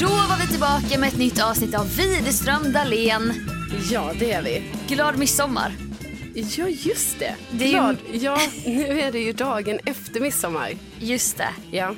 Då var vi tillbaka med ett nytt avsnitt av Widerström Dahlén. Ja, det är vi. Glad midsommar. Ja, just det. Det är ju- Glad. Ja, nu är det ju dagen efter midsommar. Just det. Ja,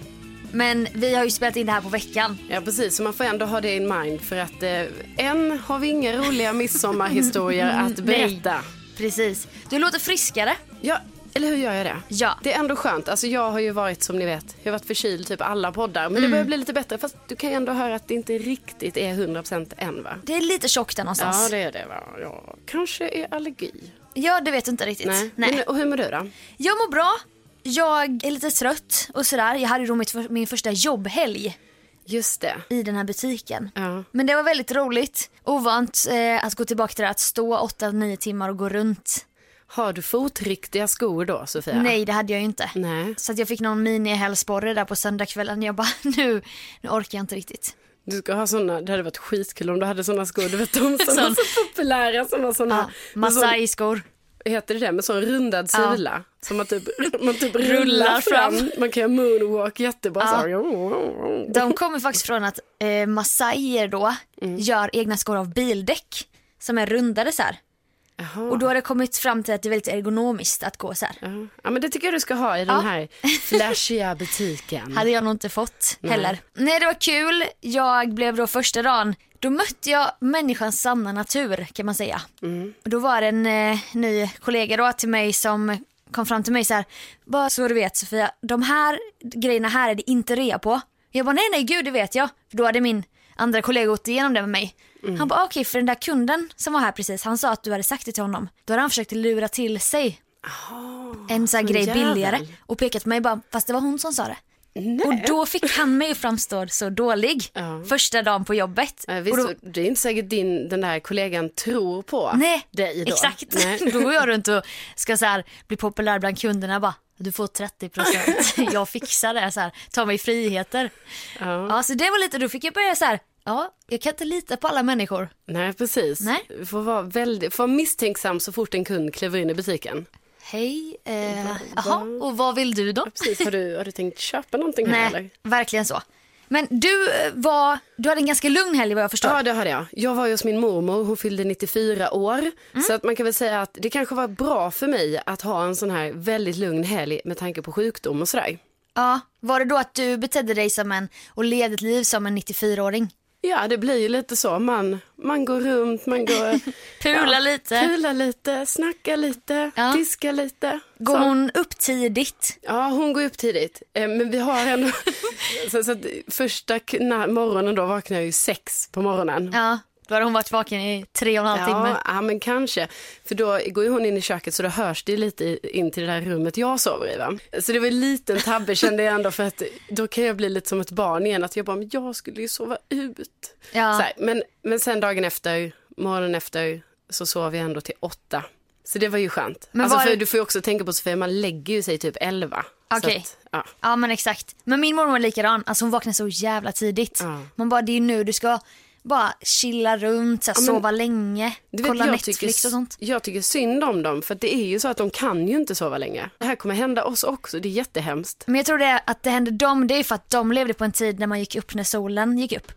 Men vi har ju spelat in det här på veckan. ja precis. Så man får ändå ha det in mind för att eh, än har vi inga roliga midsommarhistorier att berätta. Precis. Du låter friskare. Ja, eller hur gör jag det? Ja. Det är ändå skönt. Alltså jag har ju varit som ni vet, jag har varit förkyld typ alla poddar. Men det börjar bli lite bättre. Fast du kan ju ändå höra att det inte riktigt är 100% än va? Det är lite tjockt där någonstans. Ja, det är det va. Ja, kanske är allergi. Ja, det vet du inte riktigt. Nej. Men, och hur mår du då? Jag mår bra. Jag är lite trött och sådär. Jag hade ju då mitt, för- min första jobbhelg Just det. i den här butiken. Ja. Men det var väldigt roligt. Ovant eh, att gå tillbaka till det här att stå 8-9 timmar och gå runt. Har du fotriktiga skor då Sofia? Nej, det hade jag ju inte. Nej. Så att jag fick någon mini-hälsporre där på söndagskvällen. Jag bara, nu, nu orkar jag inte riktigt. Du ska ha såna, det hade varit skitkul om du hade såna skor, du vet de som var Sån- så populära som var såna, Ja, med sån- Masai-skor. heter det det, med sån rundad Ja. sula som man typ, man typ rullar, Rullar fram. fram. man kan göra moonwalk jättebra så här. De kommer faktiskt från att eh, massajer då gör egna skor av bildäck som är rundade så här. Jaha. Och då har det kommit fram till att det är väldigt ergonomiskt att gå så här. Ja. Ja men det tycker jag du ska ha i Ja. den här flashiga butiken. Hade jag nog inte fått heller. Nej, det var kul. Jag blev då första dagen, då mötte jag människans sanna natur kan man säga. Och då var det en eh, ny kollega då till mig som kom fram till mig så här, bara så du vet Sofia, de här grejerna här är det inte rea på. Jag bara nej nej gud det vet jag. För då hade min andra kollega gått igenom det med mig. Han bara okej för den där kunden som var här precis, han sa att du hade sagt det till honom. Då hade han försökt lura till sig en sån här sån grej jävel. billigare och pekat på mig bara fast det var hon som sa det. Och då fick han mig framstå så dålig Ja. första dagen på jobbet. Ja, visst, och då, och det är inte säkert din, den där kollegan tror på nej, dig då. exakt. Nej. Då går jag runt och ska så här, bli populär bland kunderna bara. Du får 30 procent, jag fixar det. Så här, ta mig friheter. Ja. så det var lite, då fick jag börja så här, ja, jag kan inte lita på alla människor. Nej precis. Nej. Du Får vara väldigt, får vara misstänksam så fort en kund kliver in i butiken. Hej, eh, jaha, och vad vill du då? Precis, har du, har du tänkt köpa någonting här eller? Nej, verkligen så. Men du eh, var, du hade en ganska lugn helg vad jag förstår. Ja, det hade jag. Jag var ju hos min mormor, hon fyllde 94 år. Mm. Så att man kan väl säga att det kanske var bra för mig att ha en sån här väldigt lugn helg med tanke på sjukdom och sådär. Ja, var det då att du betedde dig som en och levde ett liv som en 94-åring? Ja, det blir ju lite så. Man, man går runt, man går... Pula lite. Pula lite, snacka lite, Ja. diska lite. Går Så. hon upp tidigt? Ja, hon går upp tidigt. Eh, Men vi har ändå... så, så att första k- na- morgonen då vaknar jag ju sex på morgonen. Ja, då har hon varit vaken i tre och en halv timme. Ja, ja, men kanske. För då går ju hon in i köket så då hörs det ju lite i- in till det där rummet jag sover i. Va? Så det var en liten tabbe kände jag ändå för att då kan jag bli lite som ett barn igen. Att jag bara, men jag skulle ju sova ut. Ja. Så här, men, men sen dagen efter, morgonen efter så sov jag ändå till åtta. Så det var ju skönt. Men alltså, var för det- Du får ju också tänka på Sofia, man lägger ju sig typ elva. Så Okej. att, ja. Ja men exakt. Men min mormor är likadan, alltså hon vaknar så jävla tidigt. Ja. Man bara det är ju nu du ska bara chilla runt, så här, sova länge, Du vet, kolla jag Netflix tycker, och sånt. Jag tycker synd om dem, för att det är ju så att de kan ju inte sova länge. Det här kommer hända oss också, det är jättehemskt. Men jag tror det är att det hände dem, det är för att de levde på en tid när man gick upp när solen gick upp.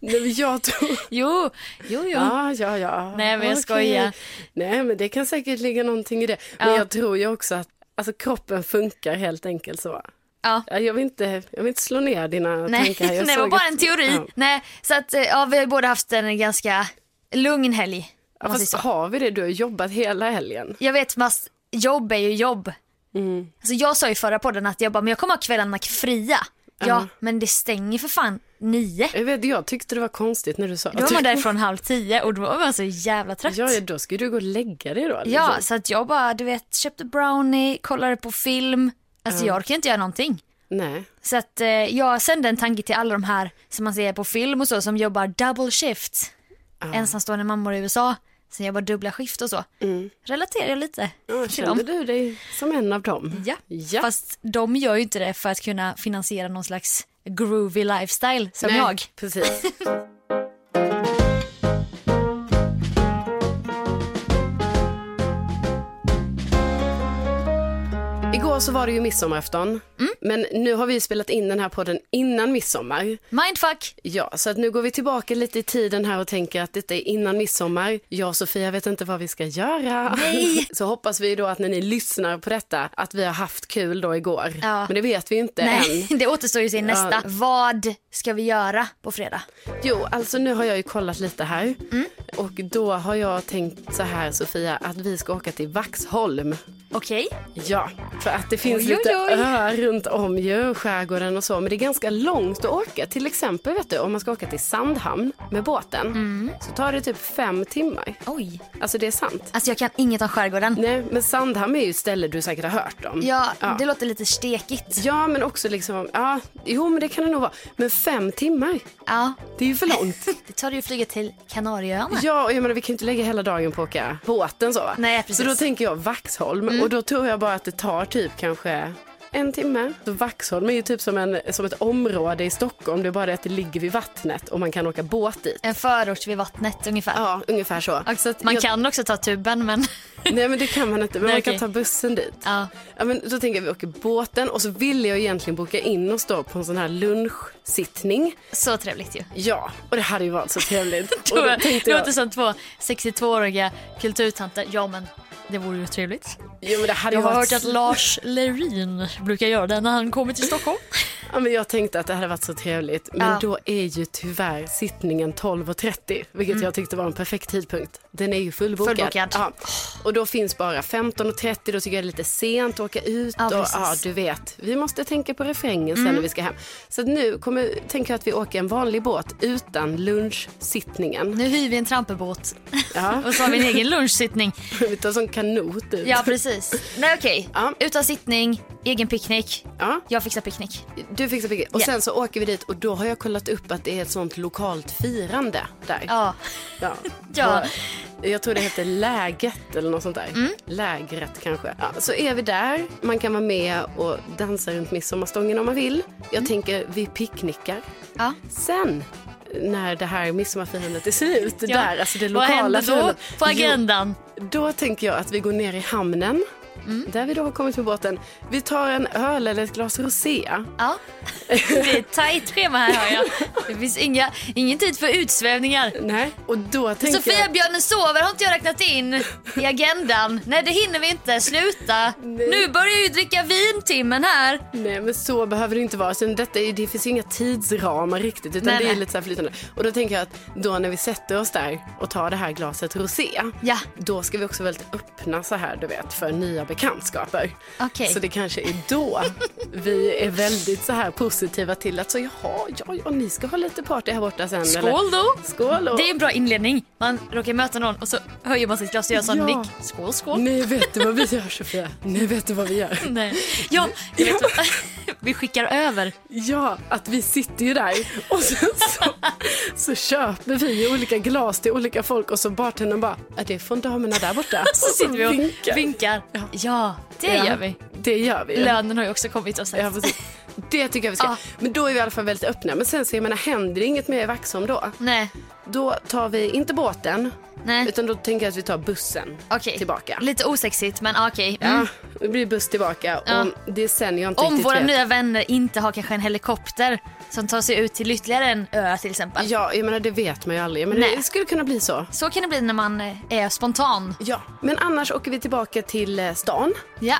Nej, men jag tror... Jo, jo, jo. Ja, ja, ja. Nej, men jag Okej. skojar. Nej, men det kan säkert ligga någonting i det. Men Ja. jag tror ju också att alltså, kroppen funkar helt enkelt så. Ja. Ja, Jag vill inte, jag vill inte slå ner dina Nej, tankar. Jag det var såg bara att- en teori. Ja. Nej, så att eh, ja, vi har ju båda haft en ganska lugn helg. Ja, om man säger fast så. har vi det? Du har jobbat hela helgen. Jag vet fast jobb är ju jobb. Mm. Alltså, jag sa i förra podden att jag bara, men jag kommer ha kvällarna fria. Ja, men det stänger för fan nio. Jag, vet, jag tyckte det var konstigt när du sa Då var att man du... därifrån halv tio och då var man så jävla trött. typ. Ja, ja, då ska du gå och lägga dig då. Ja, liksom. så att jag bara, du vet, köpte brownie, kollade på film. Alltså jag orkar inte göra någonting. Nej. Så att eh, jag sände en tanke till alla de här som man ser på film och så som jobbar double shift. Ensamstående mammor i USA som jobbar dubbla skift och så. Relaterar jag lite Mm. Ja, till kände dem. du dig som en av dem? Ja. ja. fast de gör ju inte det för att kunna finansiera någon slags groovy lifestyle som Nej, jag. Precis. Igår så var det ju midsommarafton, Mm. men nu har vi ju spelat in den här podden innan midsommar. Mindfuck! Ja, så att nu går vi tillbaka lite i tiden här och tänker att detta är innan midsommar. Jag och Sofia vet inte vad vi ska göra. Så hoppas vi då att när ni lyssnar på detta att vi har haft kul då igår. Ja. Men det vet vi ju inte än. Nej, det återstår ju att se nästa. Vad ska vi göra på fredag? Jo, alltså nu har jag ju kollat lite här. Mm. Och då har jag tänkt så här Sofia, att vi ska åka till Vaxholm. Okej. Ja, för att det finns Oj, oj, lite oj. öar runt om ju, skärgården och så. Men det är ganska långt att åka. Till exempel vet du, om man ska åka till Sandhamn med båten Mm. så tar det typ fem timmar. Oj. Alltså det är sant. Alltså jag kan inget om skärgården. Nej, men Sandhamn är ju ett ställe du säkert har hört om. Ja, det låter lite stekigt. Ja, men också liksom, ja, jo men det kan det nog vara. Men fem timmar, Ja, det är ju för långt. det tar du ju flyget till Kanarieöarna. Ja, och jag menar vi kan ju inte lägga hela dagen på att åka båten så va? Nej, precis. Mm. Så då tänker jag Vaxholm och då tror jag bara att det tar typ kanske en timme. Så Vaxholm är ju typ som, en, som ett område i Stockholm, det är bara det att det ligger vid vattnet och man kan åka båt dit. En förort vid vattnet ungefär. Ja, ungefär så. Och så att man jag, kan också ta tuben men Nej men det kan man inte, men Nej, man kan okej. ta bussen dit. ja. Ja, men då tänker jag vi åker båten och så ville jag egentligen boka in oss då på en sån här lunchsittning. så trevligt ju. Ja, och det hade ju varit så trevligt. och Då, då det tänkte jag, låter som två 62-åriga kulturtanter. Ja men det vore ju trevligt. jo, men det hade Jag ju har varit hört att Lars Lerin brukar göra det när han kommer till Stockholm. Ja, men jag tänkte att det hade varit så trevligt, men Ja. då är ju tyvärr sittningen 12.30, vilket jag tyckte var en perfekt tidpunkt. Den är ju fullbokad. Mm. Fullbokad. Ja. Och då finns bara 15.30, då tycker jag det är lite sent att åka ut. Ja, och, precis. Mm. ja, du vet, vi måste tänka på refrängen sen när vi ska hem. Så att nu kommer, tänker jag att vi åker en vanlig båt utan lunchsittningen. Nu hyr vi en trampebåt Ja. och så har vi en egen lunchsittning. vi tar sån kanot ut. Ja precis. Nej okej, Ja. utan sittning, egen picknick. Ja. Jag fixar picknick. Du fixar picket. Och Ja. sen så åker vi dit och då har jag kollat upp att det är ett sånt lokalt firande där. Ja. Ja. Ja. Mm. Vad- Jag tror det heter läget eller något sånt där. Lägret kanske. Ja, så är vi där. Man kan vara med och dansa runt midsommarstången om man vill. Jag tänker vi picknickar. Mm. Ja. Sen när det här midsommarfirandet är slut, Ja. där, alltså det Vad lokala händer då firandet. på Jo, agendan? då tänker jag att vi går ner i hamnen Mm. Där vi då har kommit med båten. Vi tar en öl eller ett glas rosé. Ja. Det är ett tajt schema här hör jag. Det finns inga, ingen tid för utsvävningar. Nej, och då tänker Sofia jag... björnen sover har inte jag räknat in i agendan. Nej det hinner vi inte, sluta. Nu börjar jag ju dricka vintimmen här. Nej, men så behöver det inte vara. Sen detta, är- det finns inga tidsramar riktigt, utan Nej, det är nej. lite så här flytande. Och då tänker jag att då när vi sätter oss där och tar det här glaset rosé, Ja. då ska vi också vara väldigt öppna så här, du vet, för nya bekantskaper. Okej. Så det kanske är då vi är väldigt så här positiva till att så jaha, ja, ja, ni ska ha lite party här borta sen. Skål då. Skål och... Det är en bra inledning. Man råkar möta någon och så höjer man sitt glas och gör sån Ja. nick. Skål skål. Nej, vet du vad vi gör Sofia? Nej, vet du vad vi gör? Nej. Ja, jag vet vad. vi skickar över. Ja, att vi sitter ju där och sen så, så köper vi ju olika glas till olika folk och så bartendern bara, är det är från damerna där borta? Så sitter vi och vinkar. Ja. Ja, det Ja, gör vi. Det gör vi ju. Lönen har ju också kommit och Ja, sagt. precis. Det tycker jag vi ska. Ja. Men då är vi i alla fall väldigt öppna. Men sen så jag menar, händer det inget mer i Vaxholm då? Nej, Då tar vi inte båten, nej. utan då tänker jag att vi tar bussen Mm. Okej. tillbaka. Lite osexigt men okej. Mm. Ja, det blir buss tillbaka. Ja. Och det är sen jag inte Om riktigt våra vet. nya vänner inte har kanske en helikopter som tar sig ut till ytterligare en ö till exempel. Ja, jag menar det vet man ju aldrig. Men Nej. det skulle kunna bli så. Så kan det bli när man eh, är spontan. Ja, men annars åker vi tillbaka till eh, stan Ja.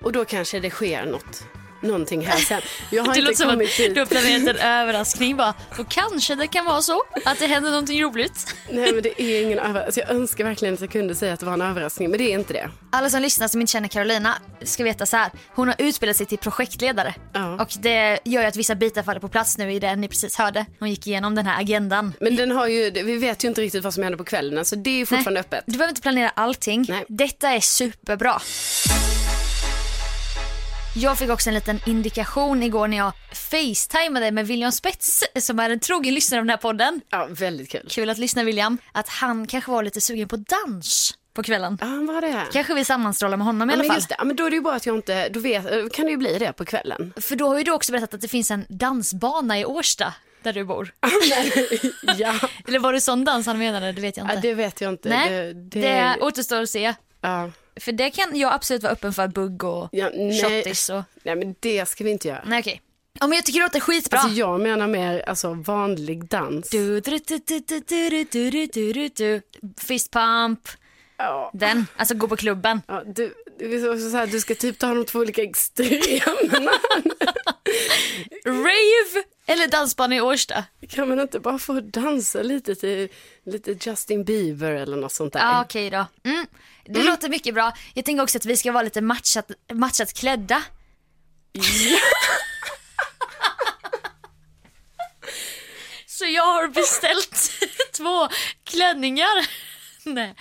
och då kanske det sker något. Någonting här sen. Jag har Det låter inte som att kommit dit. du har planerat en överraskning bara. Då kanske det kan vara så att det händer någonting roligt. Nej men det är ingen överraskning. Alltså, jag önskar verkligen att jag kunde säga att det var en överraskning, men det är inte det. Alla som lyssnar som inte känner Carolina ska veta så här. Hon har utbildat sig till projektledare. Ja. Och det gör ju att vissa bitar faller på plats nu i det ni precis hörde. Hon gick igenom den här agendan. Men den har ju, vi vet ju inte riktigt vad som händer på kvällen, så det är ju fortfarande öppet. Du behöver inte planera allting. Nej. Detta är superbra. Jag fick också en liten indikation igår när jag facetimade med William Spets som är en trogen lyssnare av den här podden. Ja, väldigt kul. Kul att lyssna William. Att han kanske var lite sugen på dans på kvällen. Ja, vad var det? här? Kanske vi sammanstrålar med honom i ja, alla men fall. just det. Ja, men då är det ju bara att jag inte, då vet, kan det ju bli det på kvällen. För då har ju du också berättat att det finns en dansbana i Årsta där du bor. Ah. ja. Eller var det sån dans han menade? Det vet jag inte. ja, Ah, det vet jag inte. Nej, det, det, det återstår att se. ja. För det kan jag absolut vara öppen för bugg och Ja, nej. shottis och... nej, men det ska vi inte göra. Nej okej. Ja men jag tycker det låter skitbra. Alltså, jag menar mer alltså, vanlig dans. Du, du, du, du, du, du, du, du, du, du, du. Fist pump. Ja. Den, alltså gå på klubben. Ja, du, du, är också så här, du ska typ ta de två olika extremerna. Rave eller dansbana i Årsta. kan man inte bara få dansa lite till lite Justin Bieber eller något sånt där? Ja okej då. Mm. Det låter mycket bra. Jag tänker också att vi ska vara lite matchat, matchat klädda. Så jag har beställt två klänningar. Nej.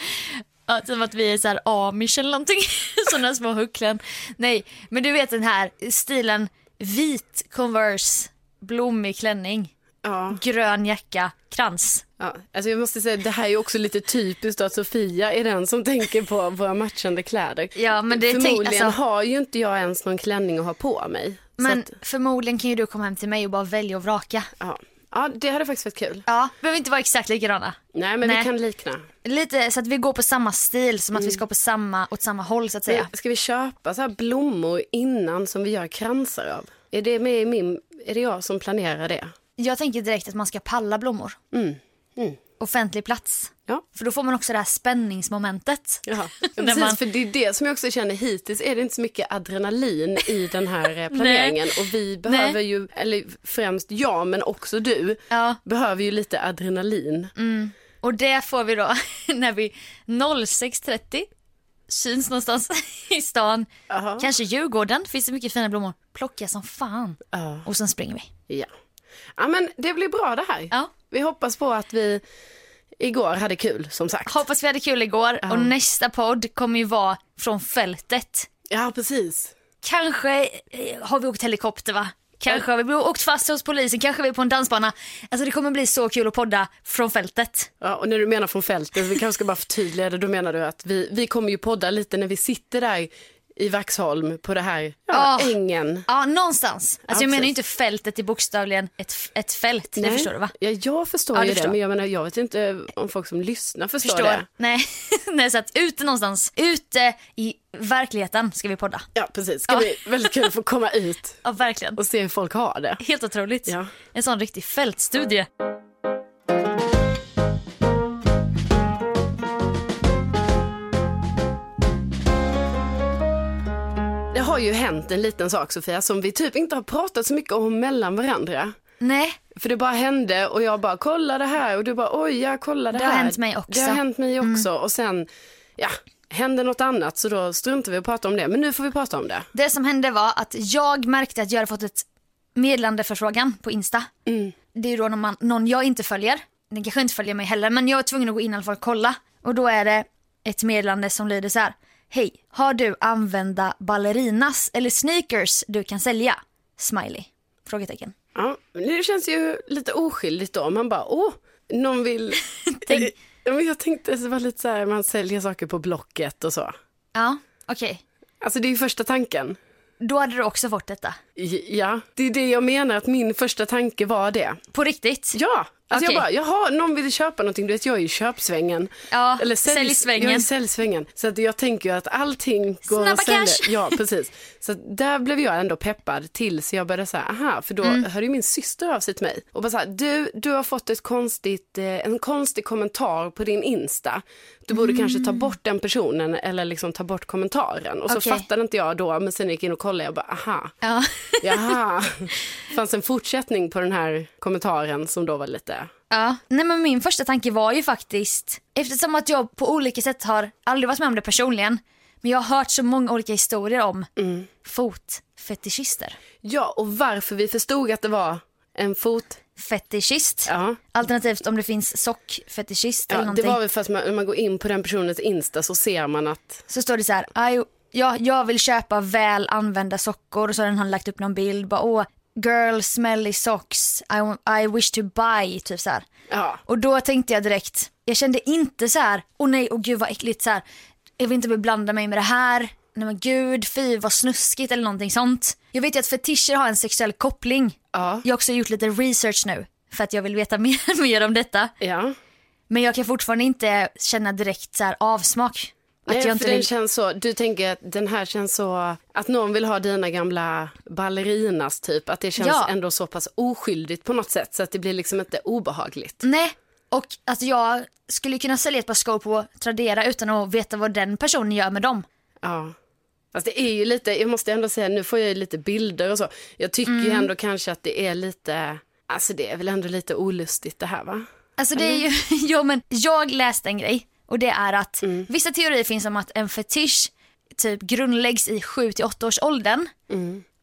Ja, som att vi är så här amish eller någonting. Sådana små hucklen. Nej, men du vet den här stilen vit Converse, blommig klänning, Ja, grön jacka, krans. ja. Alltså jag måste säga, det här är ju också lite typiskt då, att Sofia är den som tänker på våra matchande kläder. Ja, men det tänk- Förmodligen alltså- har ju inte jag ens någon klänning att ha på mig. Men Så att, förmodligen kan ju du komma hem till mig och bara välja och vraka. ja. ja, det hade faktiskt varit kul. Ja, behöver inte vara exakt likadana. Nej, men Nej. vi kan likna. Lite så att vi går på samma stil, som Mm. att vi ska på samma, åt samma håll så att säga. Men Ska vi köpa så här blommor innan som vi gör kransar av? Är det, med i min, är det jag som planerar det? Jag tänker direkt att man ska palla blommor. Mm. Offentlig plats. Ja. För då får man också det här spänningsmomentet. Jaha. Ja, När precis, man- för det är det som jag också känner hittills är det inte så mycket adrenalin i den här eh, planeringen och vi behöver Nej. ju, eller främst jag men också du, Ja. behöver ju lite adrenalin. Och det får vi då när vi 06.30 syns någonstans i stan. Jaha. Kanske Djurgården, finns det mycket fina blommor. Plocka som fan. Ja. Och sen springer vi. Ja. ja men det blir bra det här. Ja. Vi hoppas på att vi igår hade kul som sagt. Hoppas vi hade kul igår och nästa podd kommer ju vara från fältet. Ja precis. Kanske eh, har vi åkt helikopter va? Kanske har vi åkt fast hos polisen, kanske vi är på en dansbana. Alltså det kommer bli så kul att podda från fältet. Ja, och när du menar från fältet, vi kanske ska bara förtydliga det, då menar du att vi, vi kommer ju podda lite när vi sitter där i Vaxholm på det här ja, Ja. ängen. Ja, någonstans. Alltså, Ja, jag menar precis. ju inte fältet i bokstavligen ett, f- ett fält, det Nej. förstår du va? Ja, jag förstår Ja, ju du det, förstår. men jag menar, jag vet inte om folk som lyssnar förstår, det. Nej. Nej, så att ute någonstans, ute i verkligheten ska vi podda. Ja, precis. Ska Ja. bli väldigt kul att få komma ut Ja, verkligen. och se hur folk har det. Helt otroligt. Ja. En sån riktig fältstudie. Det har ju hänt en liten sak, Sofia, som vi typ inte har pratat så mycket om mellan varandra. Nej, För det bara hände och jag bara kolla det här och du bara oj ja kolla det, Det här. har hänt mig också. Mm. Det har hänt mig också och sen ja, hände något annat så då struntar vi att prata om det. Men nu får vi prata om det. det som hände var att jag märkte att jag hade fått ett meddelandeförfrågan på Insta. Det är ju då när man, någon jag inte följer. Den kanske inte följer mig heller men jag är tvungen att gå in i alla fall och kolla. Och då är det ett meddelande som lyder så här. Hej, har du använda ballerinas eller sneakers du kan sälja? Smiley? Frågetecken. Ja, men det känns ju lite oskyldigt då. Man bara åh, någon vill... Tänk- Ja, men jag tänkte det var lite så här man säljer saker på Blocket och så. Ja, okej. Alltså det är ju första tanken. Då hade du också fått detta. J- Ja, det är det jag menar att min första tanke var det. På riktigt? Ja, alltså Okej. jag bara, jaha, någon ville köpa någonting. Du vet, jag är i köpsvängen. Ja, säljs- säljsvängen. Jag är i säljsvängen. Så att jag tänker ju att allting går Snabba att sälja. cash. Ja, precis. Så att där blev jag ändå peppad tills jag började säga, aha, för då Mm. hörde ju min syster av sig till mig och bara så här, du, du har fått ett konstigt, eh, en konstig kommentar på din Insta. Du borde kanske ta bort den personen eller liksom ta bort kommentaren. Och så Mm. Okej. fattade inte jag då, men sen gick jag in och kollade och bara, aha. Ja. Jaha, fanns en fortsättning på den här kommentaren som då var lite... Ja. Nej men min första tanke var ju faktiskt, eftersom att jag på olika sätt har aldrig varit med om det personligen, men jag har hört så många olika historier om Mm. fotfetischister. Ja, och varför vi förstod att det var en fot... Fetischist. Ja. Alternativt om det finns sockfetischist eller Ja, det någonting. var väl för att man, när man går in på den personens Insta så ser man att... Så står det så här, "Aj, ja, jag vill köpa väl använda sockor och så har den han lagt upp någon bild, bara åh, girl smelly socks, I, want- I wish to buy, typ så här. Ja, Och då tänkte jag direkt, jag kände inte så här, åh nej, åh gud vad äckligt så här, jag vill inte beblanda mig med det här, nej men gud, fy vad snuskigt eller någonting sånt. Jag vet ju att fetischer har en sexuell koppling. Ja. Jag har också gjort lite research nu för att jag vill veta mer, mer om detta. ja. Men jag kan fortfarande inte känna direkt så här avsmak. Att Nej, jag för inte den vill... känns så, du tänker att den här känns så, att någon vill ha dina gamla ballerinas typ, att det känns Ja. ändå så pass oskyldigt på något sätt så att det blir liksom inte obehagligt. Nej, och att jag skulle kunna sälja ett par skor på Tradera utan att veta vad den personen gör med dem. Ja. Fast det är ju lite, jag måste ändå säga, nu får jag ju lite bilder och så. Jag tycker Mm. ju ändå kanske att det är lite, alltså det är väl ändå lite olustigt det här va? Alltså det är ju, jo men jag läste en grej och det är att vissa teorier finns om att en fetisch typ grundläggs i 7-8 års åldern.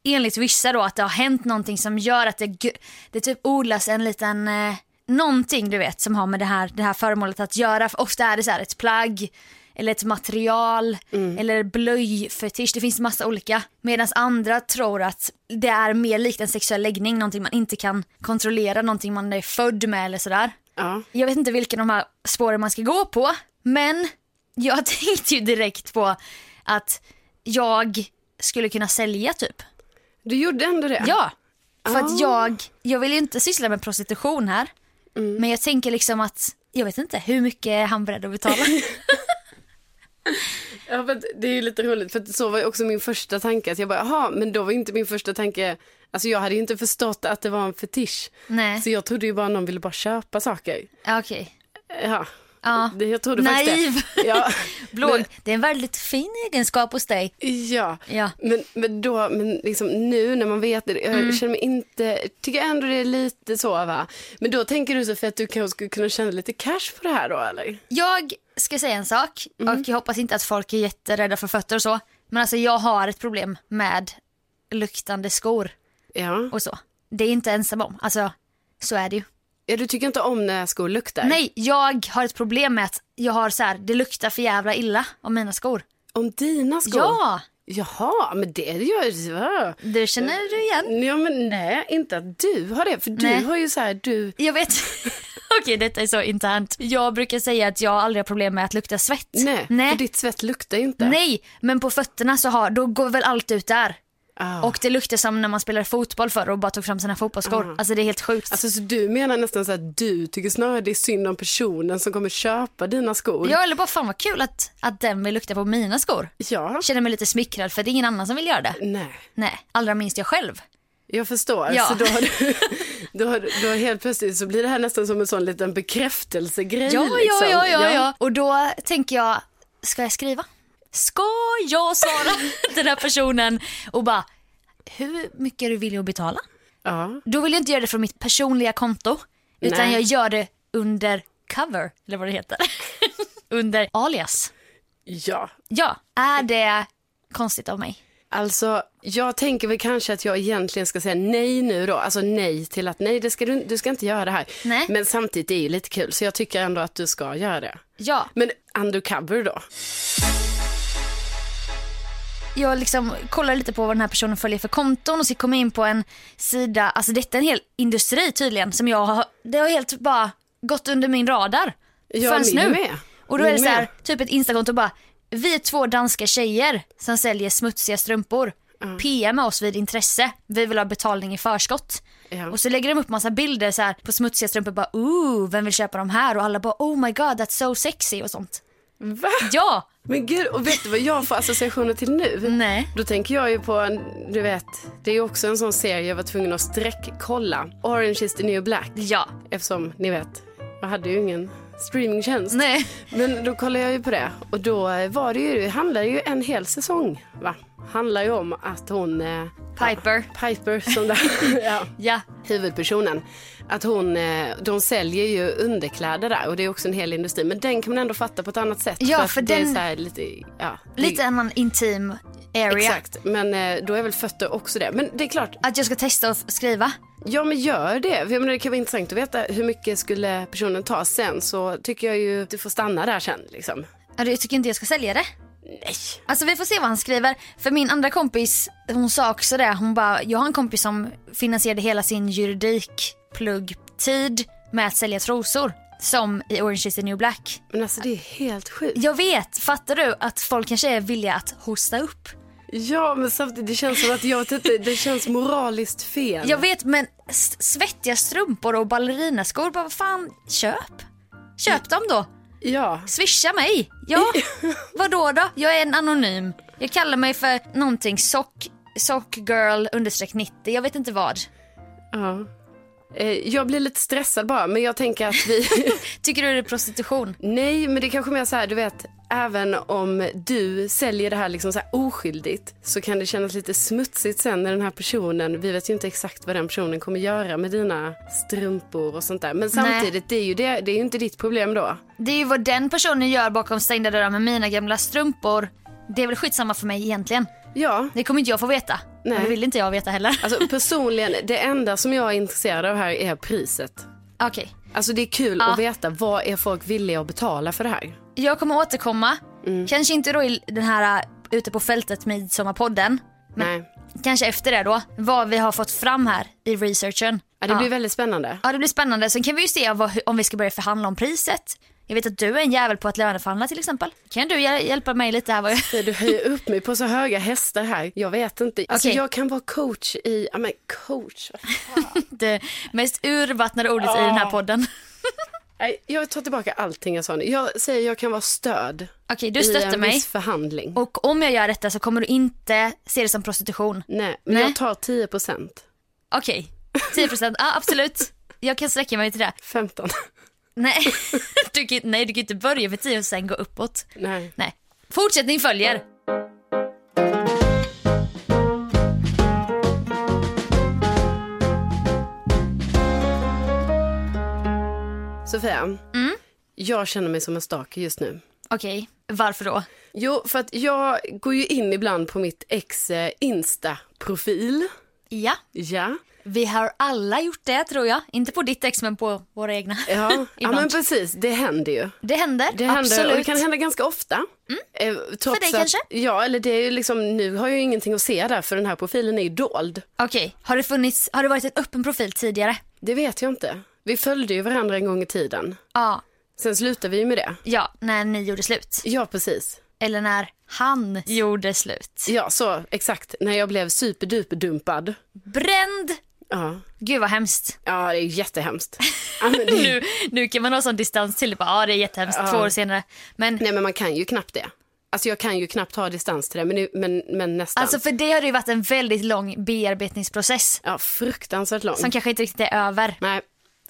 Enligt vissa då att det har hänt någonting som gör att det, gu- det typ odlas en liten, eh, någonting du vet som har med det här, det här föremålet att göra. För ofta är det så här ett plagg eller ett material eller blöjfetisch, det finns massa olika. Medan andra tror att det är mer likt en sexuell läggning, någonting man inte kan kontrollera, någonting man är född med eller sådär. Ja. Jag vet inte vilka de här spåren man ska gå på, men jag tänkte ju direkt på att jag skulle kunna sälja typ. Du gjorde ändå det? Ja, för Ah. att jag, jag vill ju inte syssla med prostitution här, men jag tänker liksom att jag vet inte hur mycket är han beredd att betala. Ja, för att det är ju lite roligt, för att så var ju också min första tanke. Att jag bara, jaha, men då var inte min första tanke, alltså jag hade ju inte förstått att det var en fetisch. Nej. Så jag trodde ju bara någon ville bara köpa saker. Ja, Okej, Ja, Ja. Det- jag trodde Naiv. faktiskt det. Ja. blåg. Det är en väldigt fin egenskap hos dig. Ja, Ja. Men, men, då, men liksom nu när man vet det, jag Mm. känner mig inte, tycker ändå det är lite så va. Men då tänker du Sofie att du kanske skulle kunna tjäna lite cash på det här då eller? Jag ska säga en sak och jag hoppas inte att folk är jätterädda för fötter och så. Men alltså jag har ett problem med luktande skor Ja. och så. Det är inte ensam om, alltså så är det ju. ja, du tycker inte om när skor luktar? Nej, jag har ett problem med att jag har så här, det luktar för jävla illa om mina skor. Om dina skor? Ja, Jaha, men det gör jag. det känner du igen. Ja, men nej, inte att du har det. För du Nej. har ju så här, du... Jag vet, Okej, detta är så internt. Jag brukar säga att jag aldrig har problem med att lukta svett. Nej, Nej. för ditt svett luktar ju inte. Nej, men på fötterna så har, då går väl allt ut där. Ah. Och det luktar som när man spelade fotboll förr och bara tog fram sina fotbollsskor. Alltså det är helt sjukt. Ah. Alltså, så du menar nästan så att du tycker snarare det är synd om personen som kommer köpa dina skor? ja, eller bara fan vad kul att, att den vill lukta på mina skor. Ja. Jag känner mig lite smickrad för det är ingen annan som vill göra det. Nej, Nej, allra minst jag själv. jag förstår. Ja. Så då har du, då har, du- då helt plötsligt så blir det här nästan som en sån liten bekräftelsegrej. Ja, ja, liksom. ja, ja, ja. Och då tänker jag, ska jag skriva? Ska jag svara till den här personen och bara, hur mycket är du villig att betala? ja. Då vill jag inte göra det från mitt personliga konto, utan Nej. jag gör det under cover, eller vad det heter. under alias. Ja, Ja, är det konstigt av mig? Alltså, jag tänker väl kanske att jag egentligen ska säga nej nu då. Alltså nej till att nej, det ska du, du ska inte göra det här. Nej. Men samtidigt är det ju lite kul, så jag tycker ändå att du ska göra det. Ja, Men undercover då? jag liksom kollar lite på vad den här personen följer för konton och så kommer jag in på en sida, alltså detta är en hel industri tydligen som jag har, det har helt bara gått under min radar. Ja, Förrän min nu. med. Och då Min är det så här, med. typ ett instakonto bara, vi är två danska tjejer som säljer smutsiga strumpor. PMa oss vid intresse, vi vill ha betalning i förskott. Ja. Och så lägger de upp massa bilder så här, på smutsiga strumpor bara, ooh, vem vill köpa de här? Och alla bara, oh my god, that's so sexy och sånt. Va? Ja, Men gud, och vet du vad jag får associationer till nu? nej. Då tänker jag ju på, en- du vet, det är ju också en sån serie jag var tvungen att sträckkolla. Orange is the new black. Ja. Eftersom, ni vet, jag hade ju ingen streamingtjänst. Nej. Men då kollade jag ju på det och då eh, var det ju, handlade ju en hel säsong va? Handlar ju om att hon eh, Piper. Piper som där, ja, Ja. huvudpersonen. Att hon, eh, de säljer ju underkläder där och det är också en hel industri. Men den kan man ändå fatta på ett annat sätt. Ja, att för det är den- så här lite, ja, det- Lite annan intim area. Exakt, men eh, då är väl fötter också det. Men det är klart, Att jag ska testa att skriva. Ja men gör det. För Jag menar, det kan vara intressant att veta hur mycket skulle personen ta sen. Så tycker jag ju att du får stanna där sen liksom. Ja, Jag tycker inte jag ska sälja det. Nej. Alltså vi får se vad han skriver. För min andra kompis, hon sa också det. Hon bara, jag har en kompis som finansierade hela sin juridikpluggtid med att sälja trosor. Som i Orange is the new black. Men alltså det är helt sjukt. Jag vet, fattar du att folk kanske är villiga att hosta upp? Ja men samtidigt det känns som att jag vet inte, det känns moraliskt fel. Jag vet men s- svettiga strumpor och ballerinaskor, bara vad fan, köp. Köp dem då. Ja. Swisha mig! Ja, vadå då? Jag är en anonym. Jag kallar mig för någonting sock, sockgirl understreck 90, jag vet inte vad. ja. Eh, Jag blir lite stressad bara men jag tänker att vi... Tycker du det är prostitution? Nej men det är kanske mer så här du vet. Även om du säljer det här liksom så här oskyldigt så kan det kännas lite smutsigt sen när den här personen, vi vet ju inte exakt vad den personen kommer göra med dina strumpor och sånt där. Men samtidigt, det är ju det, det är ju inte ditt problem då. Det är ju vad den personen gör bakom stängda dörrar med mina gamla strumpor. Det är väl skitsamma för mig egentligen. Ja, Det kommer inte jag få veta. Nej. Och det vill inte jag veta heller. alltså personligen, det enda som jag är intresserad av här är priset. Okej, Alltså det är kul Ja. att veta vad är folk villiga att betala för det här. jag kommer återkomma. Mm. Kanske inte då i den här äh, ute på fältet midsommarpodden. Nej, Kanske efter det då. Vad vi har fått fram här i researchen. ja, det blir väldigt spännande. Ja det blir spännande. Sen kan vi ju se vad, hur- om vi ska börja förhandla om priset. Jag vet att du är en jävel på att löneförhandla till exempel. Kan du hjä- hjälpa mig lite här? Vad jag... Du höjer upp mig på så höga hästar här. Jag vet inte. Alltså Okej. jag kan vara coach i, ja men coach, vad Det mest urvattnade ordet i den här podden. Nej, jag tar tillbaka allting jag sa nu. Jag säger jag kan vara stöd Okej, du i stöttar en mig. viss förhandling. Och om jag gör detta så kommer du inte se det som prostitution. Nej, men Nej. jag tar 10 procent. Okej, 10%. Ja absolut. Jag kan sträcka mig till det. 15. Nej. Du kan, nej, du kan inte börja med 10 och sen gå uppåt. Nej. Nej. Fortsättning följer. Sofia, Mm. jag känner mig som en stalker just nu. Okej, varför då? Jo, för att jag går ju in ibland på mitt ex eh, Insta-profil. Ja, Ja. vi har alla gjort det tror jag. Inte på ditt ex men på våra egna. Ja. ja, Ibland. men precis. Det händer ju. Det händer, Det händer, absolut. Mm. och det kan hända ganska ofta. Eh, trots dig att, kanske? Ja, eller det är ju liksom, nu har jag ju ingenting att se där för den här profilen är ju dold. Okej, har det funnits, har det varit en öppen profil tidigare? Det vet jag inte. Vi följde ju varandra en gång i tiden. Ja, Sen slutade vi ju med det. ja, när ni gjorde slut. Ja, precis. Eller när han gjorde slut. Ja, så exakt. När jag blev superduperdumpad. Bränd! Ja. Gud vad hemskt. ja, det är ju jättehemskt. Ja, men det... Nu, nu kan man ha sån distans till det. Bara, Ja, det är jättehemskt. Två år senare. Men Nej, men man kan ju knappt det. Alltså jag kan ju knappt ha distans till det, men, nu- men, men nästan. alltså för det har det ju varit en väldigt lång bearbetningsprocess Ja, fruktansvärt lång. som kanske inte riktigt är över Nej,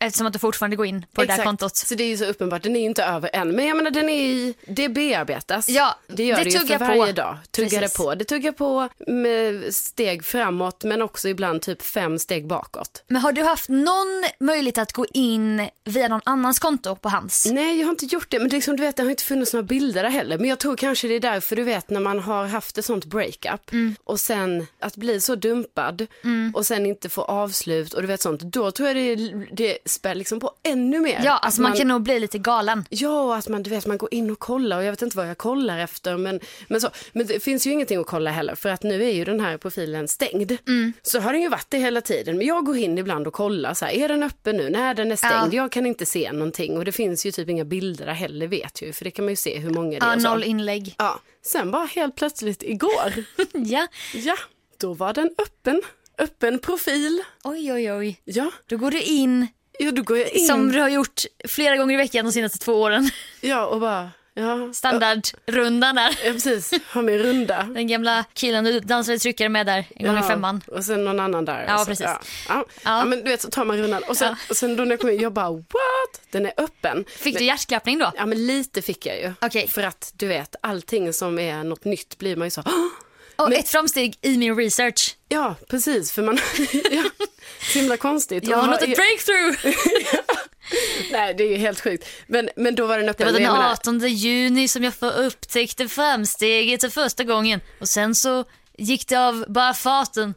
eftersom att du fortfarande går in på det där kontot. Så det är ju så uppenbart, den är ju inte över än. Men jag menar den är i, det bearbetas. Ja, det gör det det, ju för tuggar på. varje dag. Tuggar Precis. det på. Det tuggar på med steg framåt men också ibland typ fem steg bakåt. Men har du haft någon möjlighet att gå in via någon annans konto på hans? Nej, jag har inte gjort det. Men det är liksom, du vet, det har inte funnits några bilder där heller. Men jag tror kanske det är därför du vet när man har haft ett sånt breakup Mm. och sen att bli så dumpad och sen inte få avslut och du vet sånt. Då tror jag det, det spär liksom på ännu mer. Ja, Att alltså man, kan nog bli lite galen. Ja, och att man, du vet, man går in och kollar och jag vet inte vad jag kollar efter. Men, men, så, men det finns ju ingenting att kolla heller för att nu är ju den här profilen stängd. Mm. Så har den ju varit det hela tiden. Men jag går in ibland och kollar, så här, är den öppen nu? Nej, den är stängd. Jag kan inte se någonting och det finns ju typ inga bilder där heller vet jag ju för det kan man ju se hur många det är. Ja, och så. noll inlägg. ja. Sen bara helt plötsligt igår, Ja. ja, då var den öppen. Öppen profil. Oj, oj, oj. Ja, Då går du in, ja då går jag in som du har gjort flera gånger i veckan de senaste två åren. ja, och bara, ja, Standardrundan där. ja precis, har min runda. Den gamla killen du dansade tryckare med där en gång i Ja, femman. Och sen någon annan där. Ja, Och så, precis. Ja, ja. Ja, men du vet så tar man rundan och sen, och sen då när jag kom in, jag bara what? Den är öppen. Fick du hjärtklappning då? Ja men lite fick jag ju. Okej. För att du vet allting som är något nytt blir man ju så, "Åh!" Och ett framsteg i min research. ja precis för man, ja, så himla konstigt. Jag Och har ha- nått ett breakthrough! Nej det är ju helt sjukt. Men, men då var den Det öppen. var Men den jag menar- 18 juni som jag för- upptäckte framsteget för första gången. Och sen så gick det av bara farten.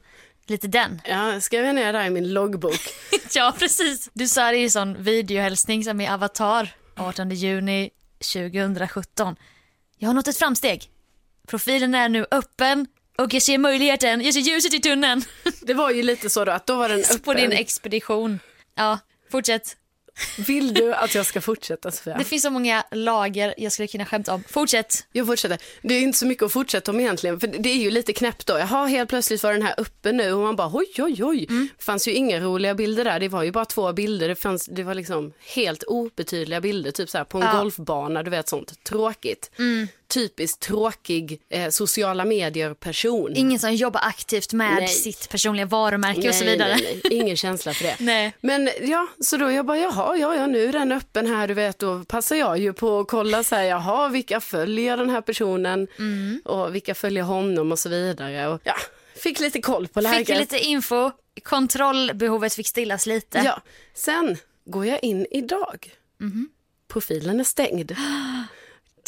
Lite den. Ja, skrev jag ner där i min loggbok. Ja, precis. Du sa det i sån videohälsning som i Avatar 18 juni 2017. Jag har nått ett framsteg. Profilen är nu öppen och jag ser möjligheten, jag ser ljuset i tunneln. Det var ju lite så då att då var den öppen. På din expedition. Ja, fortsätt. Vill du att jag ska fortsätta Sofia? Det finns så många lager jag skulle kunna skämta om. Fortsätt. Jag fortsätter. Det är inte så mycket att fortsätta om egentligen. För det är ju lite knäppt då. Jaha, helt plötsligt var den här uppe nu och man bara oj, oj, oj. fanns ju inga roliga bilder där. Det var ju bara två bilder. Det, fanns, det var liksom helt obetydliga bilder. Typ så här på en golfbana, du vet sånt. Tråkigt. Typiskt tråkig eh, sociala medier-person. Ingen som jobbar aktivt med Nej. sitt personliga varumärke och så Nej, vidare. Nej, nej. Ingen känsla för det. Nej. Men ja, så då jag bara, jaha, ja, ja, nu är den öppen här, du vet, då passar jag ju på att kolla så här, jaha, vilka följer den här personen Mm. och vilka följer honom och så vidare. Och, ja, fick lite koll på läget. Fick ju lite info, kontrollbehovet fick stillas lite. Ja, sen går jag in idag. Mm-hmm. Profilen är stängd.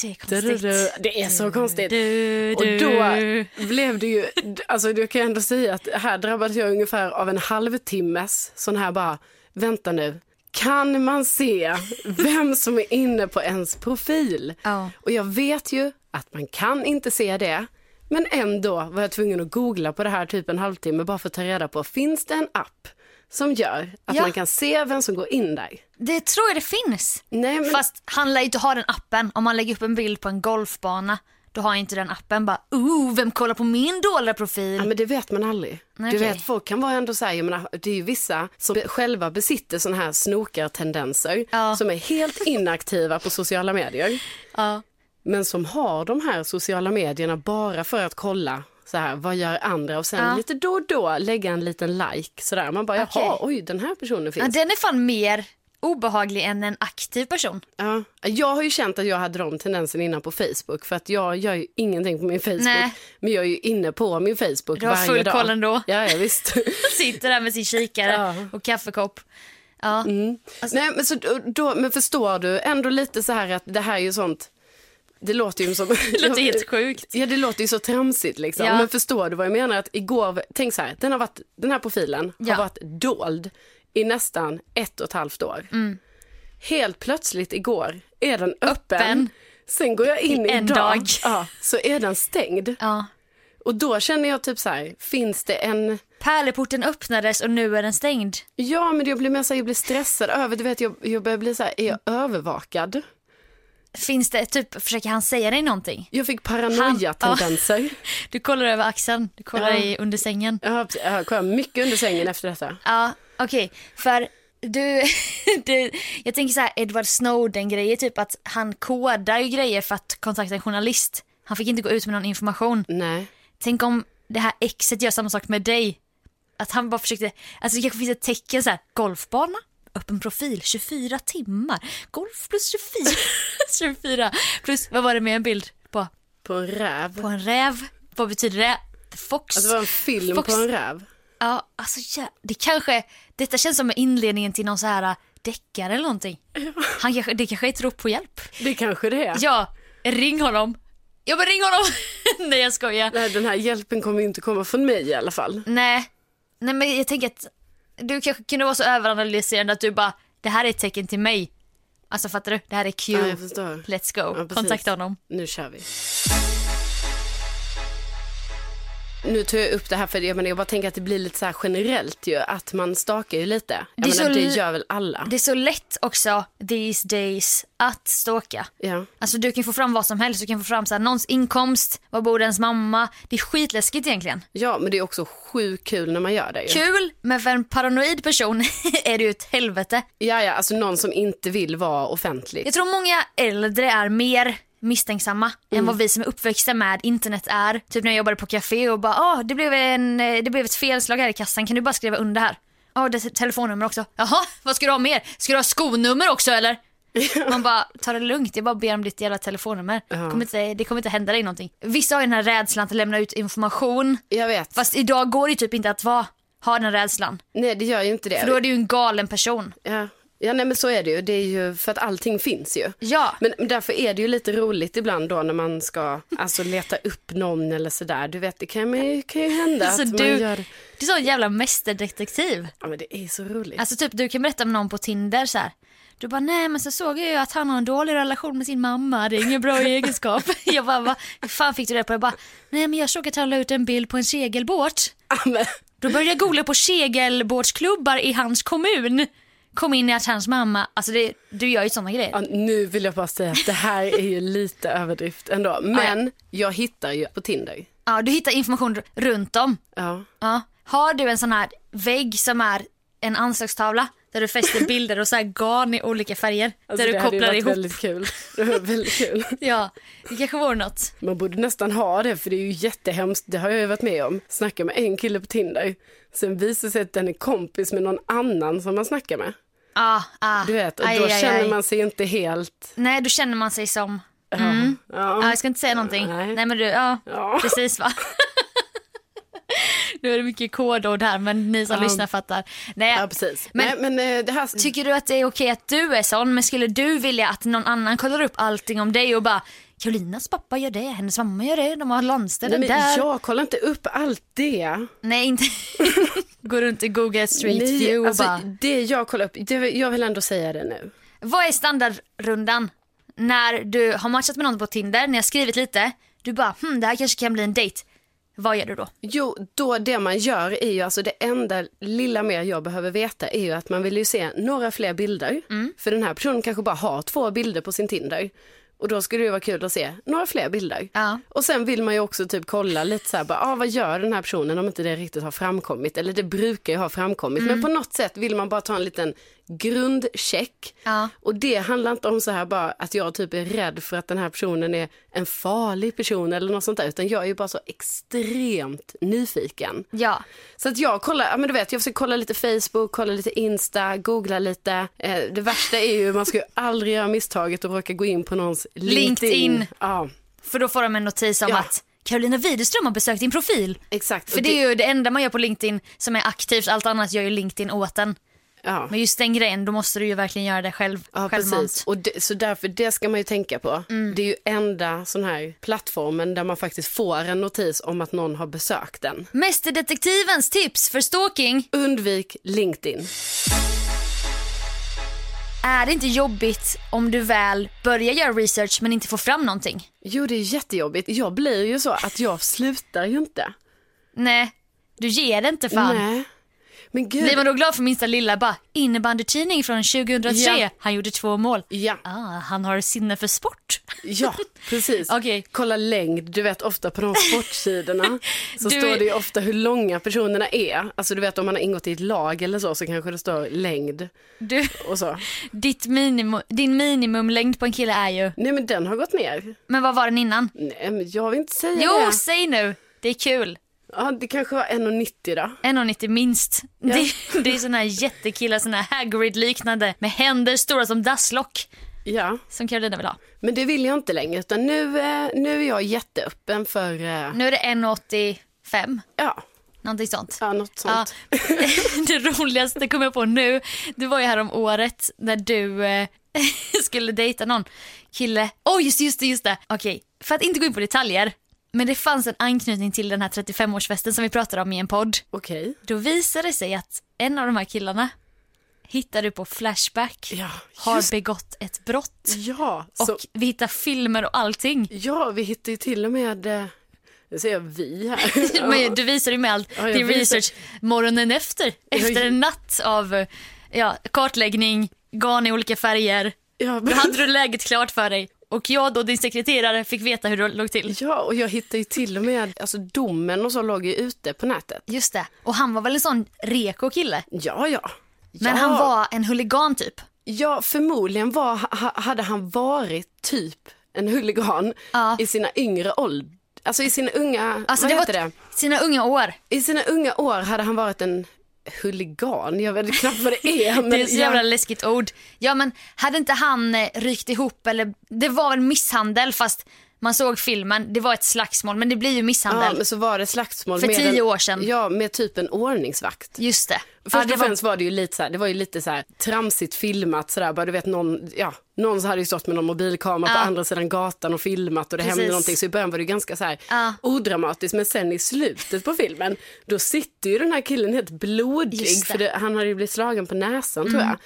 Det är konstigt. Du-du-du. Det är så konstigt. Mm. Du, Och då du. blev det ju, alltså jag kan ändå säga att här drabbades jag ungefär av en halvtimmes sån här bara, vänta nu, kan man se vem som är inne på ens profil? Ja. Och jag vet ju att man kan inte se det, men ändå var jag tvungen att googla på det här typ en halvtimme bara för att ta reda på, finns det en app som gör att Ja. man kan se vem som går in där? Det tror jag det finns. Nej, men, Fast han lär ju inte ha den appen. Om man lägger upp en bild på en golfbana, då har inte den appen bara ooh, vem kollar på min dåliga profil? Ja, men det vet man aldrig. Nej, Du okej. vet, folk kan vara ändå så här, jag menar, det är ju vissa som be- själva besitter sådana här snokartendenser Ja. som är helt inaktiva på sociala medier. Ja. Men som har de här sociala medierna bara för att kolla så här, vad gör andra och sen Ja. lite då och då lägga en liten like sådär. Man bara, jaha, Okej. oj, den här personen Ja, finns. den är fan mer obehaglig än en aktiv person. Ja. Jag har ju känt att jag hade de tendensen innan på Facebook för att jag gör ju ingenting på min Facebook. Nej. Men jag är ju inne på min Facebook Du har varje full dag. koll ändå. Ja, ja, visst. Sitter där med sin kikare och kaffekopp. Ja. Alltså- Nej, men, så, då, men förstår du ändå lite så här att det här är ju sånt, det låter ju som... Det låter helt sjukt. Ja, det låter ju så tramsigt liksom. Ja. Men förstår du vad jag menar? Att igår, tänk så här, den, har varit, den här profilen Ja. har varit dold i nästan ett och ett halvt år. Mm. Helt plötsligt igår är den öppen. Öppen. Sen går jag in I en idag, dag. Ja, så är den stängd. Ja. Och då känner jag typ så här, finns det en... Pärleporten öppnades och nu är den stängd. Ja, men jag blir mer så här, jag blir stressad över, du vet, jag, jag börjar bli så här, är jag övervakad? Finns det, typ, försöker han säga dig någonting? Jag fick paranoia-tendenser. Du kollar över axeln, du kollar Ja. i under sängen. Jag har- Jag har kollat mycket under sängen efter detta. Ja, okej. För du, du, jag tänker så här Edward Snowden-grejer, typ att han kodar ju grejer för att kontakta en journalist. Han fick inte gå ut med någon information. Nej. Tänk om det här exet gör samma sak med dig. Att han bara försökte, alltså det kanske finns ett tecken så här, golfbana, öppen profil, 24 timmar, golf plus 24, 24 plus, vad var det med en bild på? På en räv. På en räv, vad betyder det? The fox. Alltså det var en film Fox- på en räv. Ja, alltså ja, det kanske, detta känns som inledningen till någon så här äh, deckare eller någonting. Han kanske, det kanske är ett rop på hjälp. Det kanske det är. Ja, ring honom. Ja men ring honom! Nej jag skojar. Nej, den här hjälpen kommer ju inte komma från mig i alla fall. Nej. Nej men jag tänker att du kanske kunde vara så överanalyserande att du bara, det här är ett tecken till mig. Alltså fattar du? Det här är Q. Ja, jag förstår. Let's go. precis. Kontakta honom. Nu kör vi. Nu tar jag upp det här för jag, menar, jag bara tänker att det blir lite så här generellt ju, att man stakar ju lite. Jag Det är det, menar, så det l- gör väl alla? Det är så lätt också these days att stalka. Ja. Alltså du kan få fram vad som helst, du kan få fram så här, någons inkomst, var bor ens mamma. Det är skitläskigt egentligen. ja, men det är också sjukt kul när man gör det ju. Kul, men för en paranoid person är det ju ett helvete. Ja, ja, alltså någon som inte vill vara offentlig. Jag tror många äldre är mer misstänksamma än vad vi som är uppväxta med internet är. Typ när jag jobbade på café och bara ah, det, blev en, eh, det blev ett felslag här i kassan, kan du bara skriva under här? Ja, det är telefonnummer också. Jaha, vad ska du ha mer? Ska du ha skonummer också eller? Man bara, ta det lugnt, jag bara ber om ditt jävla telefonnummer. Kommer inte, det kommer inte hända dig någonting. Vissa har ju den här rädslan att lämna ut information. Jag vet. Fast idag går det ju typ inte att vara, ha den rädslan. Nej, det gör ju inte det. För då är du ju en galen person. Ja, ja nej, men så är det ju. Det är ju för att allting finns ju. Ja. Men men därför är det ju lite roligt ibland då när man ska alltså, leta upp någon eller sådär. Du vet, det kan, man ju- kan ju hända Alltså, att man du- gör... Du är sån jävla mästerdetektiv. Ja, men det är så roligt. Alltså typ du kan berätta om någon på Tinder så här. Du bara nej men så såg jag ju att han har en dålig relation med sin mamma, det är ingen bra egenskap. Jag bara va? Hur fan fick du det på? Jag bara nej men jag såg att han la ut en bild på en segelbåt. Ja, men, Då började jag googla på segelbåtsklubbar i hans kommun. Kom in i att hans mamma, alltså det, du gör ju sådana ja, grejer. nu vill jag bara säga att det här är ju lite överdrift ändå. Men jag hittar ju på Tinder. Ja du hittar information r- runt om. Ja. Alltså, Ja. Har du en sån här vägg som är en anslagstavla där du fäster bilder och så här garn i olika färger. Alltså, där det du hade ju kopplar varit ihop. väldigt kul. Det var väldigt kul. Ja, det kanske vore något. Man borde nästan ha det för det är ju jättehemskt. Det har jag ju varit med om. Snacka med en kille på Tinder. Sen visar det sig att den är kompis med någon annan som man snackar med. Ja, ah. Du vet, och Aj, då aj, känner aj. man sig inte helt... Nej, då känner man sig som... Mm. Ja, Ja. jag ska inte säga någonting. Nej. Nej, men du, ja, Ja. precis va. nu är det mycket kodord här, men ni som lyssnar fattar. Nej, ja, precis. Men- Men, men, eh, det här... Tycker du att det är okej att du är sån, men skulle du vilja att någon annan kollar upp allting om dig och bara Karolinas pappa gör det, hennes mamma gör det, de har landställen Nej, men där. jag kollar inte upp allt det. Nej, inte... Gå runt i Google Street Nej, View och alltså, bara... Det jag kollar upp, det, jag vill ändå säga det nu. Vad är standardrundan? När du har matchat med någon på Tinder, ni har skrivit lite, du bara hm, det här kanske kan bli en dejt. Vad gör du då? Jo, då det man gör är ju alltså det enda lilla mer jag behöver veta är ju att man vill ju se några fler bilder. För den här personen kanske bara har två bilder på sin Tinder. Och då skulle det ju vara kul att se några fler bilder. Ja. Och sen vill man ju också typ kolla lite så här, bara, ah, vad gör den här personen om inte det riktigt har framkommit? Eller det brukar ju ha framkommit. Mm. Men på något sätt vill man bara ta en liten grundcheck. Ja. Och det handlar inte om så här bara att jag typ är rädd för att den här personen är en farlig person eller något sånt där. Utan jag är ju bara så extremt nyfiken. Ja, Så att jag kollar, ja men du vet jag försöker kolla lite Facebook, kolla lite Insta, googla lite. Eh, det värsta är ju, man ska ju aldrig göra misstaget att råka gå in på någons LinkedIn. LinkedIn. Ja, för då får de en notis om Ja. att Carolina Widerström har besökt din profil. exakt. För Och det är ju det enda man gör på LinkedIn som är aktivt, allt annat gör ju LinkedIn åt en. ja. Men just den grejen, då måste du ju verkligen göra det själv. Ja, precis. självmant. Mm. Och det, så därför, det ska man ju tänka på. Det är ju enda sån här plattformen där man faktiskt får en notis om att någon har besökt den. Mästerdetektivens tips för stalking. Undvik LinkedIn. Är det inte jobbigt om du väl börjar göra research men inte får fram någonting? Jo, det är jättejobbigt. Jag blir ju så att jag slutar ju inte. Nej, Du ger det inte fan. Nej. Men gud. Blir man då glad för minsta lilla bara innebandytidning från 2003, Ja. han gjorde två mål. Ja. Ah, han har sinne för sport. Ja, precis. Okej. Kolla längd. Du vet ofta på de sportsidorna så Du- står det ju ofta hur långa personerna är. Alltså du vet om man har ingått i ett lag eller så så kanske det står längd Du, och så. ditt minimum, din minimumlängd på en kille är ju, Nej men den har gått ner. men vad var den innan? Nej men jag vill inte säga Jo, det. säg nu, det är kul. Ja, det kanske var 1,90 då. 1,90 minst. Det, det är såna här jättekillar, såna här Hagrid-liknande med händer stora som dasslock Ja, som Carolina vill ha. men det vill jag inte längre utan nu, eh, nu är jag jätteöppen för, eh, Nu är det 1,85, ja, någonting sånt. ja, något sånt. Ja. Det roligaste kom jag på nu, det var ju här om året när du eh, skulle dejta någon kille. Oj, just det, just det, just det. Okej, för att inte gå in på detaljer. Men det fanns en anknytning till den här 35-årsfesten som vi pratade om i en podd. Okej. Då visade det sig att en av de här killarna hittade på Flashback Ja, har just- begått ett brott. Ja, Och så, vi hittar filmer och allting. ja, vi hittar ju till och med, eh, nu säger jag vi här. Men du visade ju med all Ja, jag din visar- research morgonen efter. Efter en natt av eh, ja, kartläggning, garn i olika färger. Ja, Då hade du läget klart för dig. Och jag då, din sekreterare, fick veta hur det låg till. Ja, och jag hittade ju till och med, alltså domen och så låg ju ute på nätet. Just det. Och han var väl en sån reko kille. Ja, ja. Men ja. han var en huligan typ. Ja, förmodligen var, ha, hade han varit typ en huligan Ja. i sina yngre ålder. Alltså i sina unga, Alltså, vad det var heter det? sina unga år. I sina unga år hade han varit en huligan. Jag vet knappt vad det är. Men Det är så jävla jag, läskigt ord. Ja men hade inte han eh, rykt ihop eller det var väl misshandel fast man såg filmen, det var ett slagsmål men det blir ju misshandel. ja, men så var det slagsmål. För med tio en- år sedan. Ja, med typ en ordningsvakt. Just det. Först Ja, och det var, främst var det ju lite så här, det var ju lite så här tramsigt filmat sådär, bara du vet någon, ja, någon så hade ju stått med någon mobilkamera Ja. på andra sidan gatan och filmat och det hände Precis. någonting, så i början var det ju ganska så här Ja. odramatiskt, men sen i slutet på filmen, då sitter ju den här killen helt blodig, Just det. Mm. för det, han hade ju blivit slagen på näsan tror jag,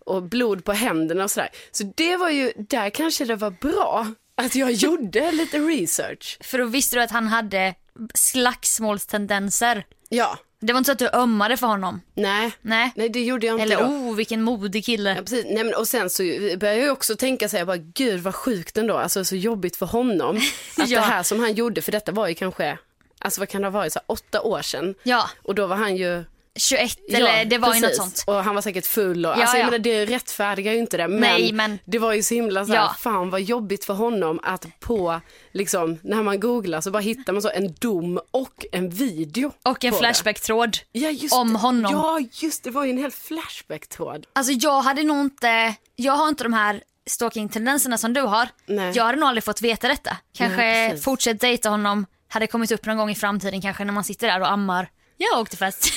och blod på händerna och sådär. Så det var ju, där kanske det var bra att jag gjorde lite research. för då visste du att han hade slagsmålstendenser. Ja, Det var inte så att du ömmade för honom. nej, Nej. nej det gjorde jag inte Eller då. oh vilken modig kille. Ja, precis. Nej, men, och sen så börjar jag ju också tänka så här, jag bara, gud vad sjukt ändå, alltså så jobbigt för honom. Att Ja. det här som han gjorde, för detta var ju kanske, alltså vad kan det ha varit, så här, åtta år sedan. Ja. Och då var han ju... 21 eller Ja, det var ju något precis. sånt. Och han var säkert full och, Ja, alltså jag ja. menar det rättfärdigar ju inte det. Men, Nej, men- det var ju så himla så här, Ja. fan vad jobbigt för honom att på, liksom, när man googlar så bara hittar man så en dom och en video. Och en på det. flashback-tråd Ja, just om det. honom. Ja, just det, det var ju en hel flashback-tråd. Alltså jag hade nog inte, jag har inte de här stalking-tendenserna som du har. Nej. Jag hade nog aldrig fått veta detta. Kanske Nej, precis. fortsätt dejta honom, hade kommit upp någon gång i framtiden kanske när man sitter där och ammar. Jag åkte fest.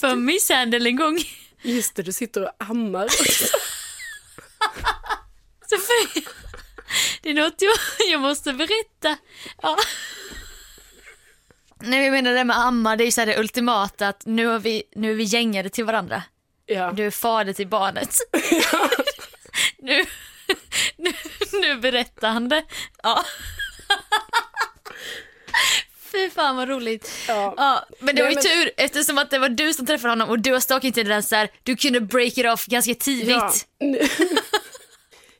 För misshandel en gång. Just det, du sitter och ammar. Så för... Det är något jag, jag måste berätta. Ja. Nej jag menar det med amma, det är ju så här det ultimata att nu, har vi, nu är vi gängade till varandra. Ja. Du är fader till barnet. nu, nu, nu berättar han det. Ja. Fy fan vad roligt. Ja. men det var ju Nej, tur eftersom att det var du som träffade honom och du har stalkingtendenser. Du kunde break it off ganska tidigt.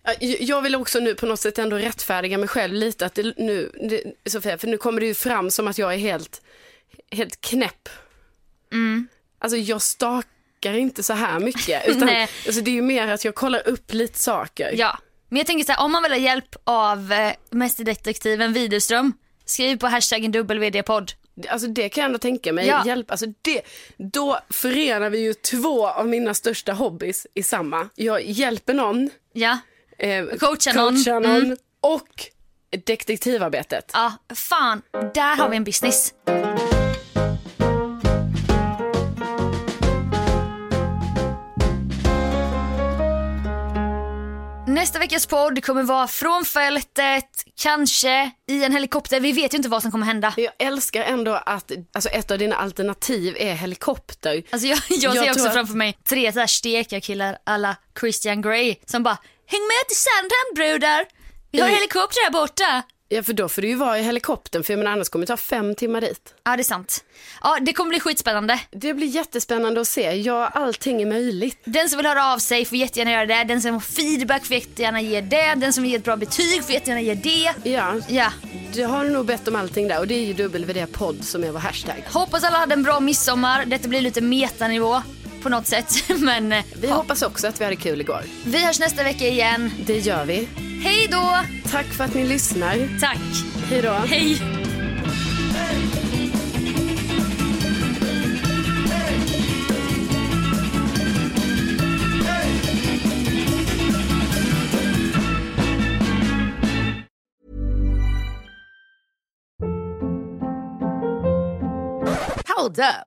Ja, Jag vill också nu på något sätt ändå rättfärdiga mig själv lite. Att det, nu, det, Sofia, för nu kommer det ju fram som att jag är helt, helt knäpp. Mm. Alltså jag stakar inte så här mycket. Utan, Nej. alltså, det är ju mer att jag kollar upp lite saker. Ja. Men jag tänker så här, om man vill ha hjälp av eh, mästerdetektiven Widerström, skriv på hashtaggen WD-podd. Alltså det kan jag ändå tänka mig. Ja. Hjälp, alltså det, då förenar vi ju två av mina största hobbys i samma. Jag hjälper någon, Ja. eh, Coachar någon. någon och detektivarbetet. ja, fan, där har vi en business. Nästa veckas podd kommer vara från fältet, kanske i en helikopter. Vi vet ju inte vad som kommer hända. Men Jag älskar ändå att alltså ett av dina alternativ är helikopter. Alltså jag, jag, Jag ser tror också att- framför mig tre så här stekarkillar alla Christian Grey som bara häng med till Sandhamn brudar. Vi har en helikopter här borta. Ja, för då får du ju vara i helikoptern, för jag menar, annars kommer det ta fem timmar dit. Ja, det är sant. Ja, det kommer bli skitspännande. Det blir jättespännande att se. Ja, allting är möjligt. Den som vill höra av sig får jättegärna göra det. Den som har feedback får jättegärna ge det. Den som vill ge ett bra betyg får jättegärna ge det. Ja, Ja, du har nog bett om allting där och det är ju WD-podd som är vår hashtag. hoppas alla hade en bra midsommar. Detta blir lite metanivå på något sätt. Men eh, Vi hoppas också att vi hade kul igår. vi hörs nästa vecka igen. Det gör vi. Hej då! Tack för att ni lyssnar. Tack. Hej då. Hej. Hold up.